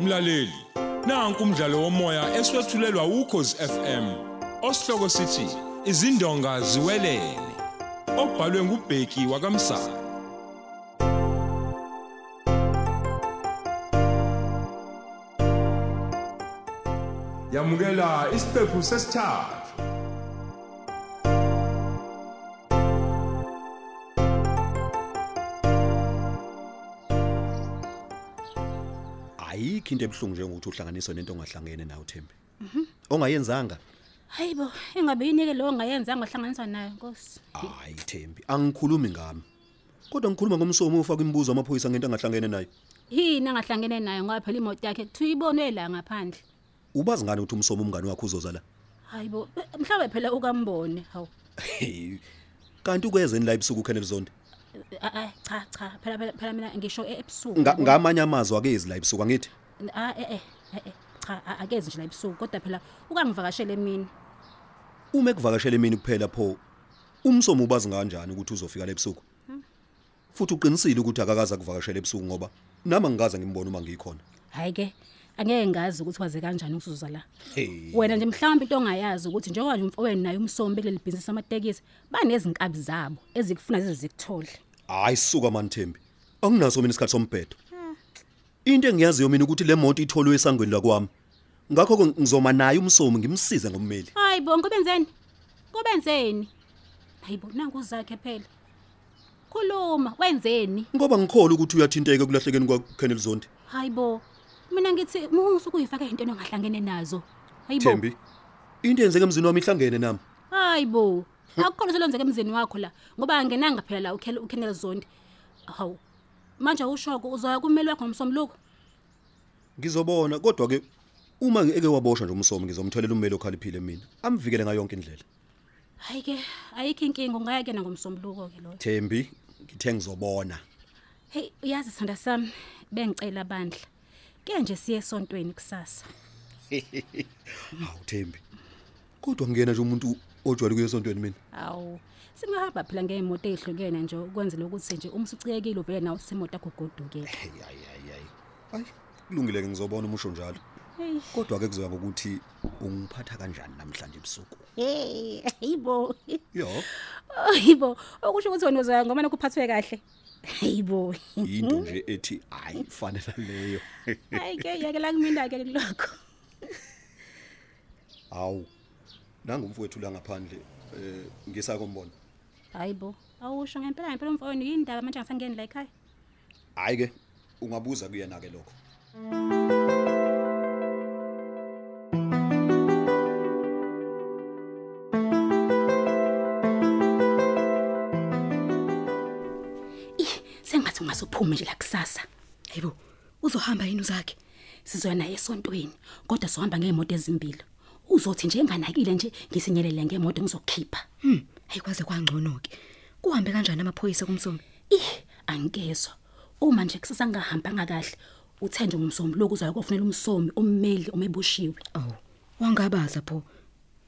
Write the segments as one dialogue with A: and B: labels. A: mlaleli nanku umdlalo womoya eswetshulelwa ukhozi FM osihloko sithi izindonga ziwelele obhalwe ngubheki wakamsa yamukela isiphepho sesithathu
B: ayikho into ebuhlungu njengokuthi uhlanganiswe nento ongahlangene nayo Thembi ongayenzanga
C: hayibo engabe yini-ke leyo ongayenza angahlanganiswa nayo nkosi
B: hayi Thembi angikhulumi ngami kodwa ngikhuluma ngomsomo ufaka imibuzo amaphoyisa ngento angahlangene nayo
C: yini angahlangene nayo ngoba phela imoto yakhe kuthiwa ibonwe la ngaphandle
B: ubazi ngani ukuthi umsomo umngani wakho uzoza la
C: hayibo eh, mhlawumbe phela ukambone hawu
B: kanti ukwezeni la ebusuku ukhele lizonto
C: Eh, ah, ah, cha cha phela phela- phela mina ngisho e- ebusuku
B: Nga- ngamanye amazwi akezi la ebusuku angithi
C: Ah, eh, eh, eh, eh, cha a- akezi nje la ebusuku kodwa phela ukangivakashele emini
B: uma ekuvakashela emini kuphela pho umsomo ubazi kanjani ukuthi uzofika la ebusuku futhi uqinisile ukuthi akakaza kuvakashela ebusuku ngoba nama ngikaze ngimbone uma ngikhona
C: hhayi-ke angeke ngazi ukuthi waze kanjani ukuzuza la
B: Hey.
C: wena nje mhlawumbe into ongayazi ukuthi njengoba nje umfowenu naye umsombi kuleli bhizinisi amatekisi banezinkabi zabo ezikufuna zize zikuthole
B: hayi suka mani Thembi anginaso mina isikhathi sombhedo into engiyaziyo mina ukuthi le moto itholwe esangweni lakwami ngakho ke ngizoma naye umsomo ngimsize ngommeli
C: hayi bo ngobenzeni kobenzeni hayi bo nangu zakhe phela khuluma wenzeni
B: ngoba ngikholwa ukuthi uyathinteka kulahlekeni kwaKenneth Zondi
C: hayi bo mina ngithi musuke uyifake into ongahlangene nazo hayi bo
B: Thembi into yenzeke emzini wami ihlangene nami
C: hayi bo akukhona selwenzeka emzini wakho la ngoba angenanga phela la ukhele- uKenneth Zondi hawu manje ushoko uzoya kumeli wakho ngomsombuluko
B: ngizobona kodwa ke uma eke waboshwa nje umsomo ngizomtholela ummeli okhaliphile mina amvikele ngayo yonke indlela
C: hayi ke ayikho inkinga ungaya kena ngomsombuluko ke loyo
B: Thembi ngithe ngizobona
C: hey uyazi sithanda sami bengicela bandla ke nje siye esontweni kusasa
B: hawu Thembi kodwa ngiyena nje umuntu ojwayele kuye esontweni mina
C: awu singahamba phela ngey'moto ey'hlukene nje ukwenzela ukuthi nje uma usucikekile uvele nawe sisemoto agogodukele
B: hayi hayi hayi hayi kulungile ke ngizobona umusho njalo
C: Eish.
B: kodwa ke kuzoya ngokuthi ungiphatha kanjani namhlanje ebusuku
C: hey hayibo
B: yo
C: Oh, hayibo okusho ukuthi wena uzoya ngoba nokuphathwe kahle hayibo
B: into nje ethi hayi fanele leyo
C: hayi-ke yakela kumina-ke kulokho
B: hawu nangumfowethu la ngaphandle eh ngisakombona
C: hayibo awusho ngempela ngempela umfowenu yini ndaba manje angisangeni la ekhaya
B: hayi ke ungabuza kuyena ke lokho
C: sengathi ungasuphume nje la kusasa hayibo uzohamba yini uzakhe sizoya naye esontweni kodwa sohamba ngey'moto ezimbili uzothi nje enganakile nje ngisinyelele ngemoto ngizokhipha
D: hm ayikwaze kwangcono-ke kuhambe kanjani amaphoyisa kumsomi
C: ih angikezwa uma nje kusasa ngahambanga kahle uthenje ngumsombuluko uzayo kofunela umsomi ummeli omebushiwe
D: awu wangabaza pho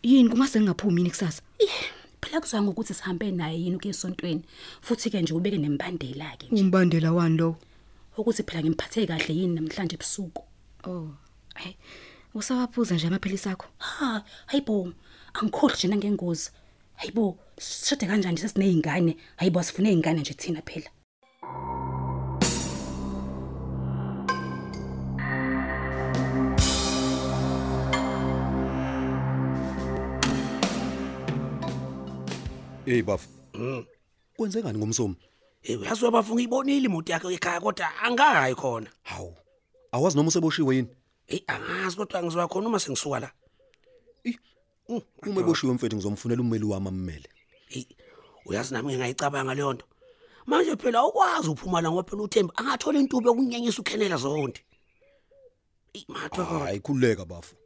D: yini kungase ngingaphumi yini kusasa
C: ih phela kuzwa ngokuthi sihambe naye yini ukuya esontweni futhi-ke nje ubeke nembandela-ke nje
D: umbandela wani lowo
C: ukuthi phela ngimphathe kahle yini namhlanje ebusuku
D: oh hayi usawaphuza nje amaphilisi akho
C: ha hayibo angikhohlwa nje nangengozi hayibo sishade kanjani nje sesiney'ngane hayibo asifune iy'ngane nje thina phela
B: hey bafu kwenzekani ngomsomo
E: Hey Eh, uyazi uyabafunga uyibonile imoto yakhe ekhaya kodwa angayi khona.
B: hawu awazi noma useboshiwe yini
E: Hey angazi kodwa ngizoya khona uma sengisuka la.
B: uma eboshiwe mfethu ngizomfunela ummeli wami ammele
E: Hey uyazi nami ngingayicabanga leyo nto. Manje phela awukwazi uphuma la ngoba phela uThembi angathola intuba yokunyanyisa uKhenela zonke. Hey mathu kodwa.
B: hayi khululeka bafu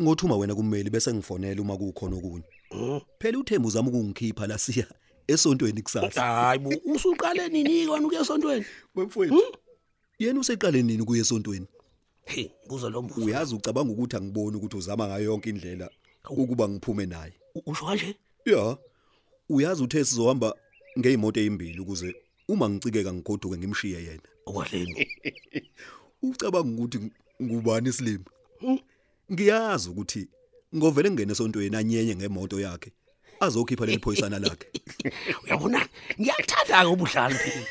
B: ngothuma wena kummeli bese ngifonela uma kukhona okunye
E: Mm.
B: phela uThembu uzama ukungikhipha la siya esontweni kusasa
E: Hayi bo usuqale nini kona ukuya esontweni?
B: wemfowethu yena useqale nini kuye esontweni
E: Hey buza lo mbuzo.
B: uyazi ucabanga ukuthi angiboni ukuthi uzama ngayo yonke indlela ukuba ngiphume naye
E: U- Usho kanje?
B: ya uyazi uthe sizohamba ngeyimoto ezimbili ukuze uma ngicikeka ngigoduke ngimshiye yena
E: Okwahleni.
B: ucabanga ukuthi Ngubani isilima? Ngiyazi ukuthi ngovele ngene esontweni anyenye ngemoto yakhe. Azokhipha leli phoyisana lakhe.
E: uyabona ngiyakuthanda-ke ubudlalo phela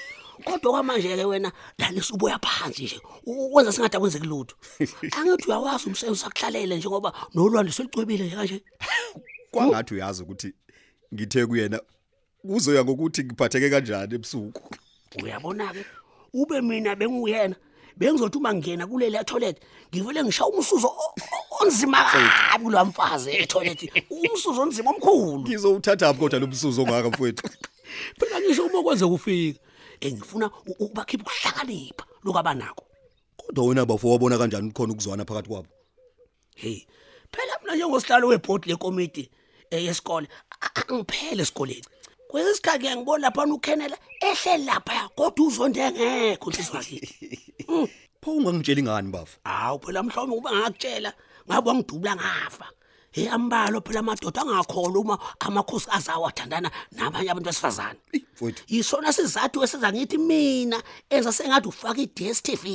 E: kodwa kwamanje-ke wena lani subuya phansi nje u- wenza singade akwenzeki lutho angithi uyawazi umsebenzi usakuhlalele njengoba nolwandle selucwebile nje kanje
B: Kwangathi uyazi ukuthi ngithe kuyena kuzoya ngokuthi ngiphatheke kanjani ebusuku.
E: uyabona-ke ube mina benguyena bengizothi uma ngingena kuleli etoilet ngivele ngishaye umsuzo o- o- onzima kabi kulwa mfazi etoilethi umsuzo onzima omkhulu
B: Ngizowuthatha apho kodwa lomsuzo ongaka mfowethu.
E: phela ngisho uma kwenzeka ufika engifuna u- ukubakhipha ukuhlakanipha lokabanako
B: Kodwa wena bafo wabona kanjani ukukhona ukuzwana phakathi kwabo?
E: hey phela mina njengosihlalo webhodi lekomiti eh, yesikole a- a- angiphele esikoleni kwesinye isikhathi ngiyangibona laphana ukhenela ehleli laphaya kodwa uzonde ngekho inhliziyo yakithi
B: Pho ungangitsheli ngani bafo?
E: hawu phela mhlawumbe ukuba ngakutshela ngabe wangidubula ngafa hey ambalo phela amadoda angakholwa uma amakhosi azawo athandana nabanye abantu besifazane
B: Mfowethu.
E: yisona sizathu esenza ngithi mina enza sengathi ufake i-dstv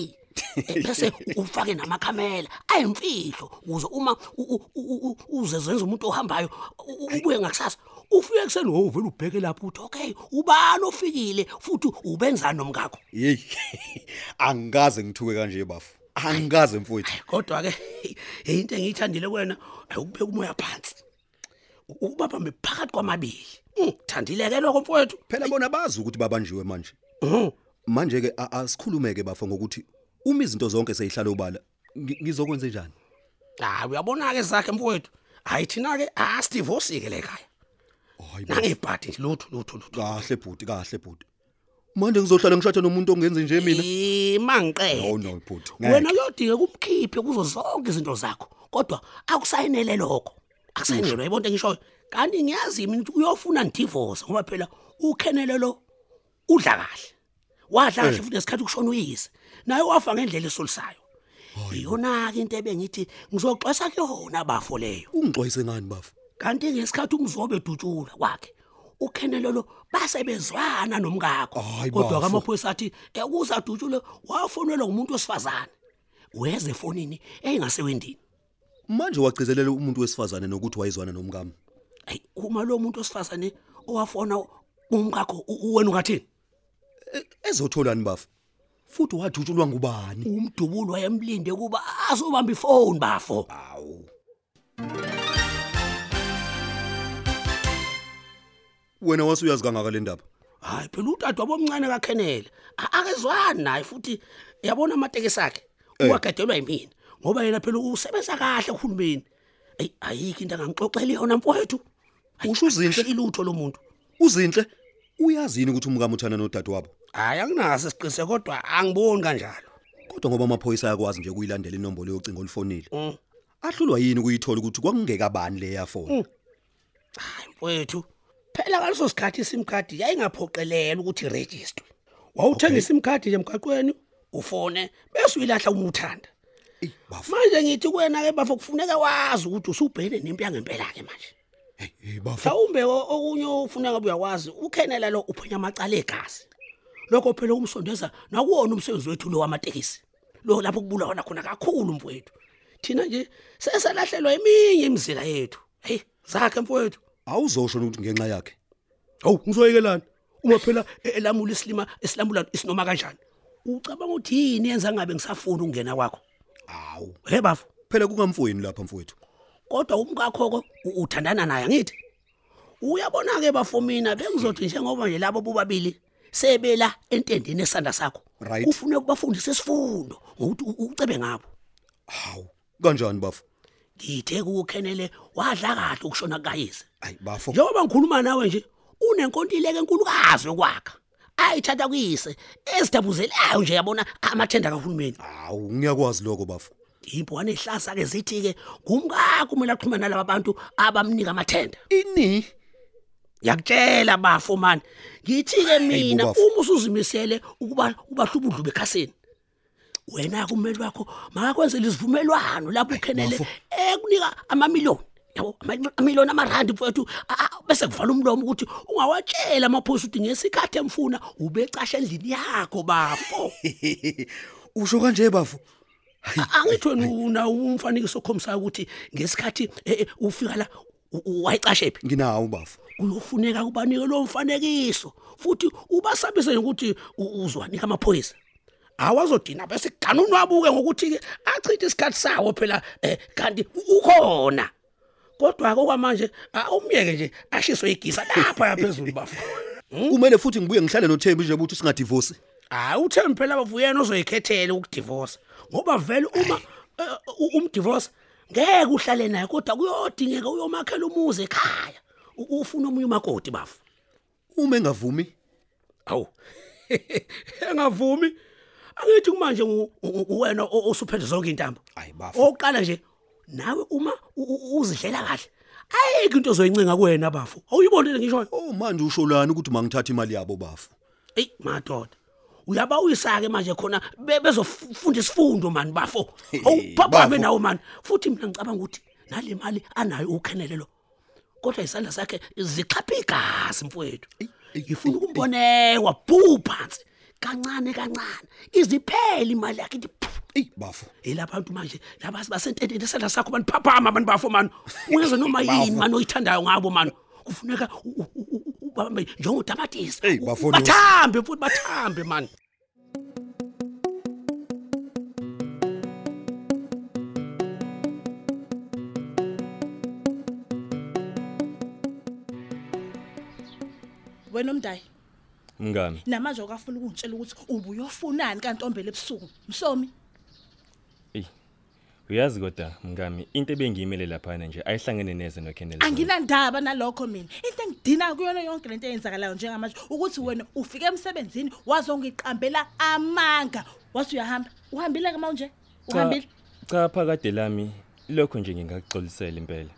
E: Eh, bese ufake namakhamera ayimfihlo ukuze uma u- u- u- u- uze zenza umuntu ohambayo u- u- ubuye ngakusasa ufike ekuseni wovele ubheke lapho ukuthi okay ubani ofikile futhi ubenzani nomngakho
B: Hey. Angikaze ngithuke kanje bafo. Angikaze mfowethu.
E: kodwa-ke heyi into engiyithandile kwena ayukubeka umoya phansi U- ubabambe phakathi kwamabili Mm, thandile-ke lokho mfowethu
B: Phela bona bazi ukuthi babanjiwe manje.
E: Mhm.
B: Manje ke asikhulumeke bafo ngokuthi uma izinto zonke seyihlala obala ngi- ngizokwenza njani?
E: hayi Ah, uyabona-ke zakhe mfowethu hayi thina-ke asidivosi-ke le khaya
B: Hayi
E: nangebhadi nje lutho lutho lutho
B: kahle bhuti kahle bhuti. Manje ngizohlala ngishade nomuntu ongenzi nje mina.
E: ima
B: No
E: ngiqele
B: no bhuti.
E: Eh, wena uyodinga kumkhiphe kuzo zonke izinto zakho kodwa akusayinele lokho akusayinele yibonto engishoyo kanti ngiyazi mina ukuthi uyofuna ndidivorce ngoba phela ukhenele lo udla kahle wadla kahle futhi ngesikhathi kushona uyise naye wafa ngendlela esolisayo iyona-ke into ebengithi ngizoxwesa kuyona bafo leyo
B: ungixwayise ngani bafo?
E: kanti ngesikhathi umzobe edutshula kwakhe ukhenelelo basebezwana nomkakho
B: Hayi,
E: kodwa
B: bafo.
E: kamaphoyisa athi "Eh, ukuze adutshule wafonelwa ngumuntu wesifazane weze efonini eyingasewendini
B: Manje wagcizelela umuntu wesifazane nokuthi wayizwana nomkami.
E: hayi uma lo muntu wesifazane owafona umkakho u- u- wena ungathini
B: Ezotholani bafo? Futhi wathutshulwa ngubani?
E: umdubulo wayemlinde kuba azobamba ifoni bafo
B: Awu. Wena wasuyazi kangaka le ndaba?
E: hayi phela udade wabomncane kakhenele A- akezwani naye futhi yabona amatekisi akhe uwagedelwa yimina ngoba yena phela usebenza kahle uhulumeni eyi ayikho into angangixoxeli yona mfowethu Ayi,
B: Usho uzinhle.
E: akusho ilutho lo muntu
B: Uzinhle uyazini ukuthi umkami uthana nodade wabo?
E: hhayi anginaso esiqinise kodwa angiboni kanjalo
B: Kodwa ngoba amaphoyisa ayakwazi nje kuyilandela inombolo yocingo olufonile.
E: Mm.
B: Ahlulwa yini ukuyithola ukuthi kwakungeka bani le
E: Mm.
B: yafona?
E: hayi mfowethu phela ngaleso sikhathi isimkhadi yayingaphoqelela ukuthi irejistwe wawuthenga isimkhadi nje emgaqweni ufone bese uyilahla uma uthanda
B: Eh, bafo.
E: manje ngithi kwena-ke bafo kufuneka wazi ukuthi usubhene nempi yangempela-ke manje
B: Eh, bafo.
E: mhlawumbe o- okunye ofuna ngabe uyakwazi ukhenela lo uphenya amacala egazi lokho phela umsondeza nakuwona umsebenzi wethu lo wamatekisi lo lapho kubulawana khona kakhulu mfowethu thina nje sesalahlelwa eminye imizila yethu heyi zakhe mfowethu
B: Awuzosho ukuthi ngenxa yakhe.
E: hawu ngizoyekelani uma phela e- elamula isilima esilamula isinoma kanjani ucabanga ukuthi yini yenza ngabe ngisafuna ukungena kwakho
B: Awu.
E: he bafo
B: Phela kungamfweni lapha mfowethu.
E: kodwa umkakhoko u- uthandana naye angithi uyabona-ke bafomina bengizothi njengoba nje labo bobabili sebela entendeni esanda sakho
B: Right.
E: kufuneka ubafundise isifundo ngokuthi u- ucebe ngabo
B: Hawu. Kanjani bafo?
E: ngithe kuwukhenele wadla kahle ukushona kukayise
B: Ayi bafo.
E: njengoba ngikhuluma nawe nje unenkontileka enkulukazi yokwakha ayithatha kuyise ezidabuzelayo nje yabona amathenda kahulumeni
B: Hawu, ngiyakwazi lokho bafo.
E: iy'mbwane ey'hlasa-ke zithi-ke ngumkakho kumele axhumane nalaba bantu abamnika amathenda
B: Ini?
E: ngiyakutshela bafo mani ngithi-ke mina
B: bafo.
E: uma usuzimisele ukuba ubahlubudlu bekhasini wena-ke ummeli wakho makakwenzela isivumelwano lapho ukhenele
B: bafo.
E: ekunika amamiliyoni yabo ama- amiliyoni amarandi mfowethu a- a- bese kuvala umlomo ukuthi ungawatshela amaphoyisa ukuthi ngesikhathi emfuna ubecasha endlini yakho bafo
B: Usho kanje bafo.
E: angithi wena una umfanekiso okhombisayo ukuthi ngesikhathi eh, eh, ufika la u- u- wayicashe phi
B: nginawo bafu
E: kuyofuneka kubanike lowo mfanekiso futhi ubasabise ukuthi u- uzwanika amaphoyisa awazodina bese gana unwabuke ngokuthi-ke achithe isikhathi sawo phela um kanti u- ukhona kodwa-ke okwamanje ah, umyeke nje ashiswe igisa lapha yaphezulu bafo
B: kumele futhi ngibuye ngihlale noThembi nje ukuthi singadivorce
E: hayi uthembi phela bavuyena ozoyikhethela ukudivosa ngoba vele uma eh, u- umdivosa ngeke uhlale naye kodwa kuyodingeka uyomakhela umuzi ekhaya U- ufuna omunye umakoti bafo
B: uma engavumi
E: awu engavumi angithi kumanje u- u- u- wena o- osuphethe zonke intambo
B: Ayi, bafo.
E: oqala nje nawe uma u- u- uzidlela kahle ayikho into ozoyincenga kuwena bafo awuyibonile ngishoyo
B: oh manje usho lana ukuthi mangithatha imali yabo bafu
E: eyi madoda uyabawisa-ke manje khona be- bezofunda isifundo mani bafo awuphaphame
B: bafo.
E: nawo mani futhi mina ngicabanga ukuthi nale mali anayo ukhenelelo kodwa isandla sakhe zixhapha igazi mfowethu
B: eyi,
E: ngifuna ukumbonekwa bhu phansi kancane kancane iziphele imali yakhe ithi phu
B: eyi bafu
E: elabantu manje laba basentendeni esandla sakho mani phaphama abantu bafo mani uyenze noma yini mani oyithandayo ngabo mani kufuneka u- u- u- u- ubambe njengotamatisi
B: Eyi,
E: U-
B: bafo, no.
E: bathambe futhi bathambe mani
F: wena umdayi
G: Mngani,
F: namanje ukafuna ukungitshela ukuthi ubuyofunani kantombela ebusuku msomi
G: uyazi kodwa mngami into ebengiyimele lapha nje ayihlangene neze noKenneth.
F: anginandaba nalokho mina into engidina kuyona yonke lento eyenzakalayo njengamanje ukuthi wena ufike emsebenzini wazongiqambela amanga wathi uyahamba uhambile-ke mawunje
G: Cha-
F: uhambile
G: Cha phakade lami lokho nje ngingakuxolisela impela.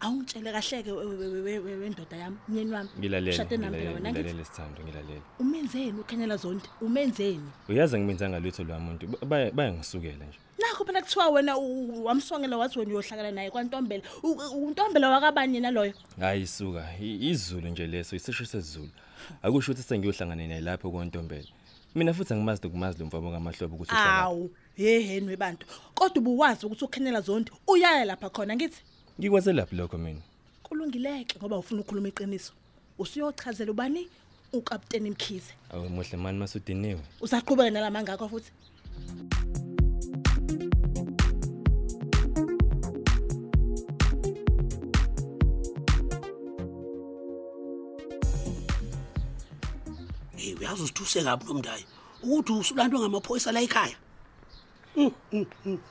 F: awungitshele kahle-ke we- we- we- we- we- wendoda yami myeni wami
G: Ngilalela,
F: Ushade nami phela
G: ngilalela,
F: wena, angithi?
G: ngilalela sithando, ngilalela.
F: umenzeni ukhenyela zonde umenzeni
G: Uyazi ngimenzanga lutho lo muntu, ba- baya- bayangisukela nje.
F: nakho phela kuthiwa wena u- u- wamsongela wathi wena uyohlakala naye kwantombela U- u- untombela wakabani yena loyo
G: Hayi suka, i- izulu nje leso, isisho sesizulu. Akusho ukuthi sengiyohlangana naye lapho kontombela. Mina futhi angimazi dokumazi lo mfabo ngamahlobo ukuthi uhlala.
F: awu yeheni webantu kodwa ubuwazi ukuthi ukhenela zonke uyaya lapha khona ngithi
G: Ngikwaze lapho lokho mina.
F: kulungileke ngoba ufuna ukukhuluma iqiniso usuyochazela ubani ukapteni mkhize
G: Awu muhle mani masudiniwe.
F: usaqhubeka nalamangakho futhi
E: hey uyazi usithuse kabi nomndayi ukuthi usulandwe ngamaphoyisa la ekhaya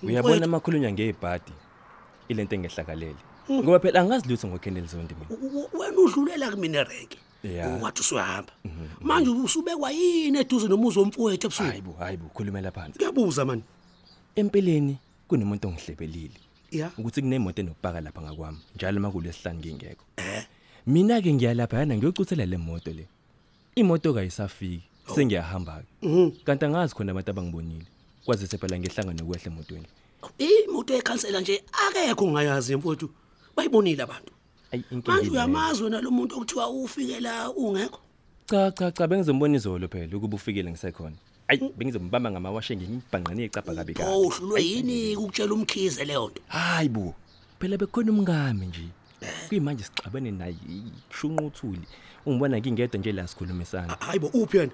G: Uyabona amakhulunywa ngebhadi. Ilento engehlakalele. Ngoba phela angazi lutho ngoKenneth Zondi mina.
E: U- u- u- wena udlulela kumina erenke
G: Ya.
E: wathi usuyahamba manje usubekwa yini eduze nomuzi womfowethu ebusuku
G: Hayibo, hayibo, khulumela phansi.
E: kuyabuza mani
G: Empeleni kunomuntu ongihlebelile.
E: ya
G: ukuthi kunemoto enokupaka lapha ngakwami njalo makulu esihlanu ngingekho mina ke ngiyalapha yana ngiyocuthela le moto le imoto kayisafiki sengiyahamba ke kanti angazi khona abantu abangibonile kwazise phela ngehlanga nokwehla emotweni
E: imoto yekhansela nje akekho ngayazi mfowethu bayibonile abantu
G: ayi
E: manje
G: inkinga
E: uyamazi wena lo muntu okuthiwa ufike la ungekho
G: cha cha cha bengizombona izolo phela ukuba ufikele ngisekhona ayi bengizombamba ngamawashe ngimibhanqane ecapha kabi
E: pho
G: kabi
E: uhlulwe Oh, yini ukutshela umkhize leyo nto
G: hayi bo phela bekhona umngame nje
E: Eh.
G: kuyimanje sixabene naye shunquthuli ungibona ngingedwa nje la sikhulumisana
E: hayi bo uphi yena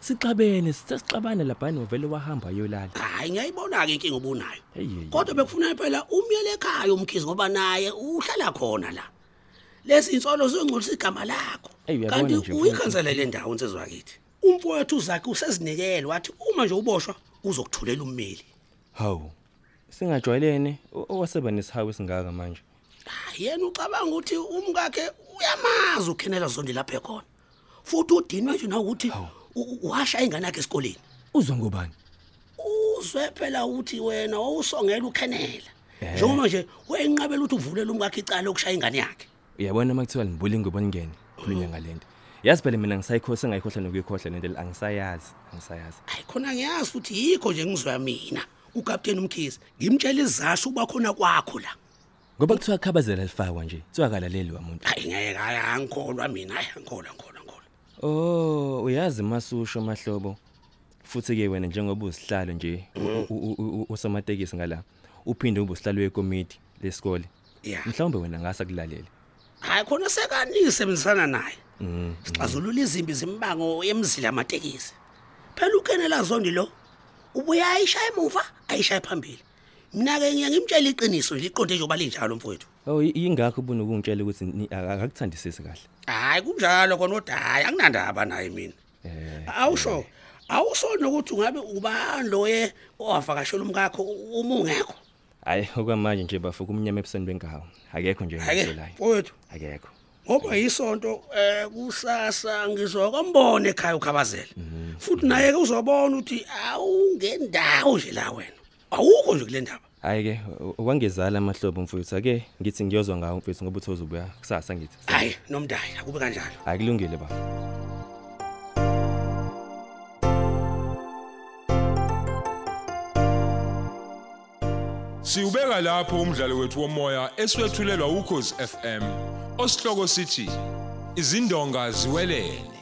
G: sixabene sisixabana labhani wavele wahamba yolala
E: hayi ngiyayibona-ke inkinga obunayo
G: Hey, hey,
E: kodwa bekufuneka phela umyele ekhaya umkhize ngoba naye uhlala khona la lezi insolo ziyongcolisa igama lakho
G: Hey, uyabona
E: kanti
G: nje, mfowethu.
E: uyikhansela le ndawo nsezwakithi umfowethu uzakhe usezinikele wathi uma nje uboshwa uzokuthulela ummeli
G: hawu singajwayelene o- owaseba nesihawu esingaka manje
E: Hayi, Ah, yena ucabanga ukuthi umkakhe uyamazi ukhenela zonke lapha ekhona futhi udinwe nje nawukuthi u- u- washa ingane yakhe esikoleni
G: uzwa ngobani
E: uzwe phela ukuthi wena wawusongela ukhenela njengoba nje wayinqabela ukuthi uvulele umkakhe icala lokushaya ingane yakhe
G: uyabona uma kuthiwa nibule ngoba ningene
E: Oh.
G: khulunywa ngale nto yazi phela mina ngisayikhohle engayikhohlwa nokuyikhohlwa lento le angisayazi angisayazi
E: hayi khona ngiyazi futhi yikho nje ngizwa mina ukapteni umkhizi ngimtshela izasho uba khona kwakho la
G: ngoba kuthiwa khabazela lifakwa nje kuthiwakalaleli wamuntu
E: hayi ngeke hayi angikholwa mina hayi angikholwa ngikholwa ngikholwa
G: o uyazi masusho Oh, mahlobo futhi ke wena njengoba usihlalo nje u- u- u- u- usamatekisi ngala uphinde ube usihlalo wekomiti lesikole
E: Ya.
G: mhlawumbe wena ngasa kulalela
E: hayi khona sekanisebenzisana naye sixazulula izimbi zimbango emzila amatekisi phela ukenela zondi lo ubuye ayishaya emuva ayishaya phambili mina-ke ngiye ngimtshela iqiniso nje liqonde njengoba linjalo mfowethu
G: oh yi- yingakho bunokungitshela ukuthi ni- aka- akakuthandisisi kahle
E: hayi kunjalo kona kodwa hayi anginandaba naye mina
G: eh
E: awusho awusona ukuthi ungabe ubani loye owavakashela umkakho uma ungekho
G: hayi okwamanje nje bafuka umnyama ebusweni benkawu akekho nje
E: ake
G: ngisolayo
E: mfowethu
G: akekho
E: ngoba yisonto eh kusasa ngizokombona ekhaya ukhabazela futhi naye ke uzobona ukuthi awungendawo nje la wena awukho nje kule ndaba
G: hayi ke wangezala amahlobo mfowethu ake ngithi ngiyozwa ngawo mfowethu ngoba uthoza ubuya kusasa ngithi
E: hayi nomdaya akube kanjalo
G: akulungile bafo
A: Siubeka lapho umdlalo wethu womoya eswetshulelwa ukhozi FM. Osihloko sithi izindonga ziwelele.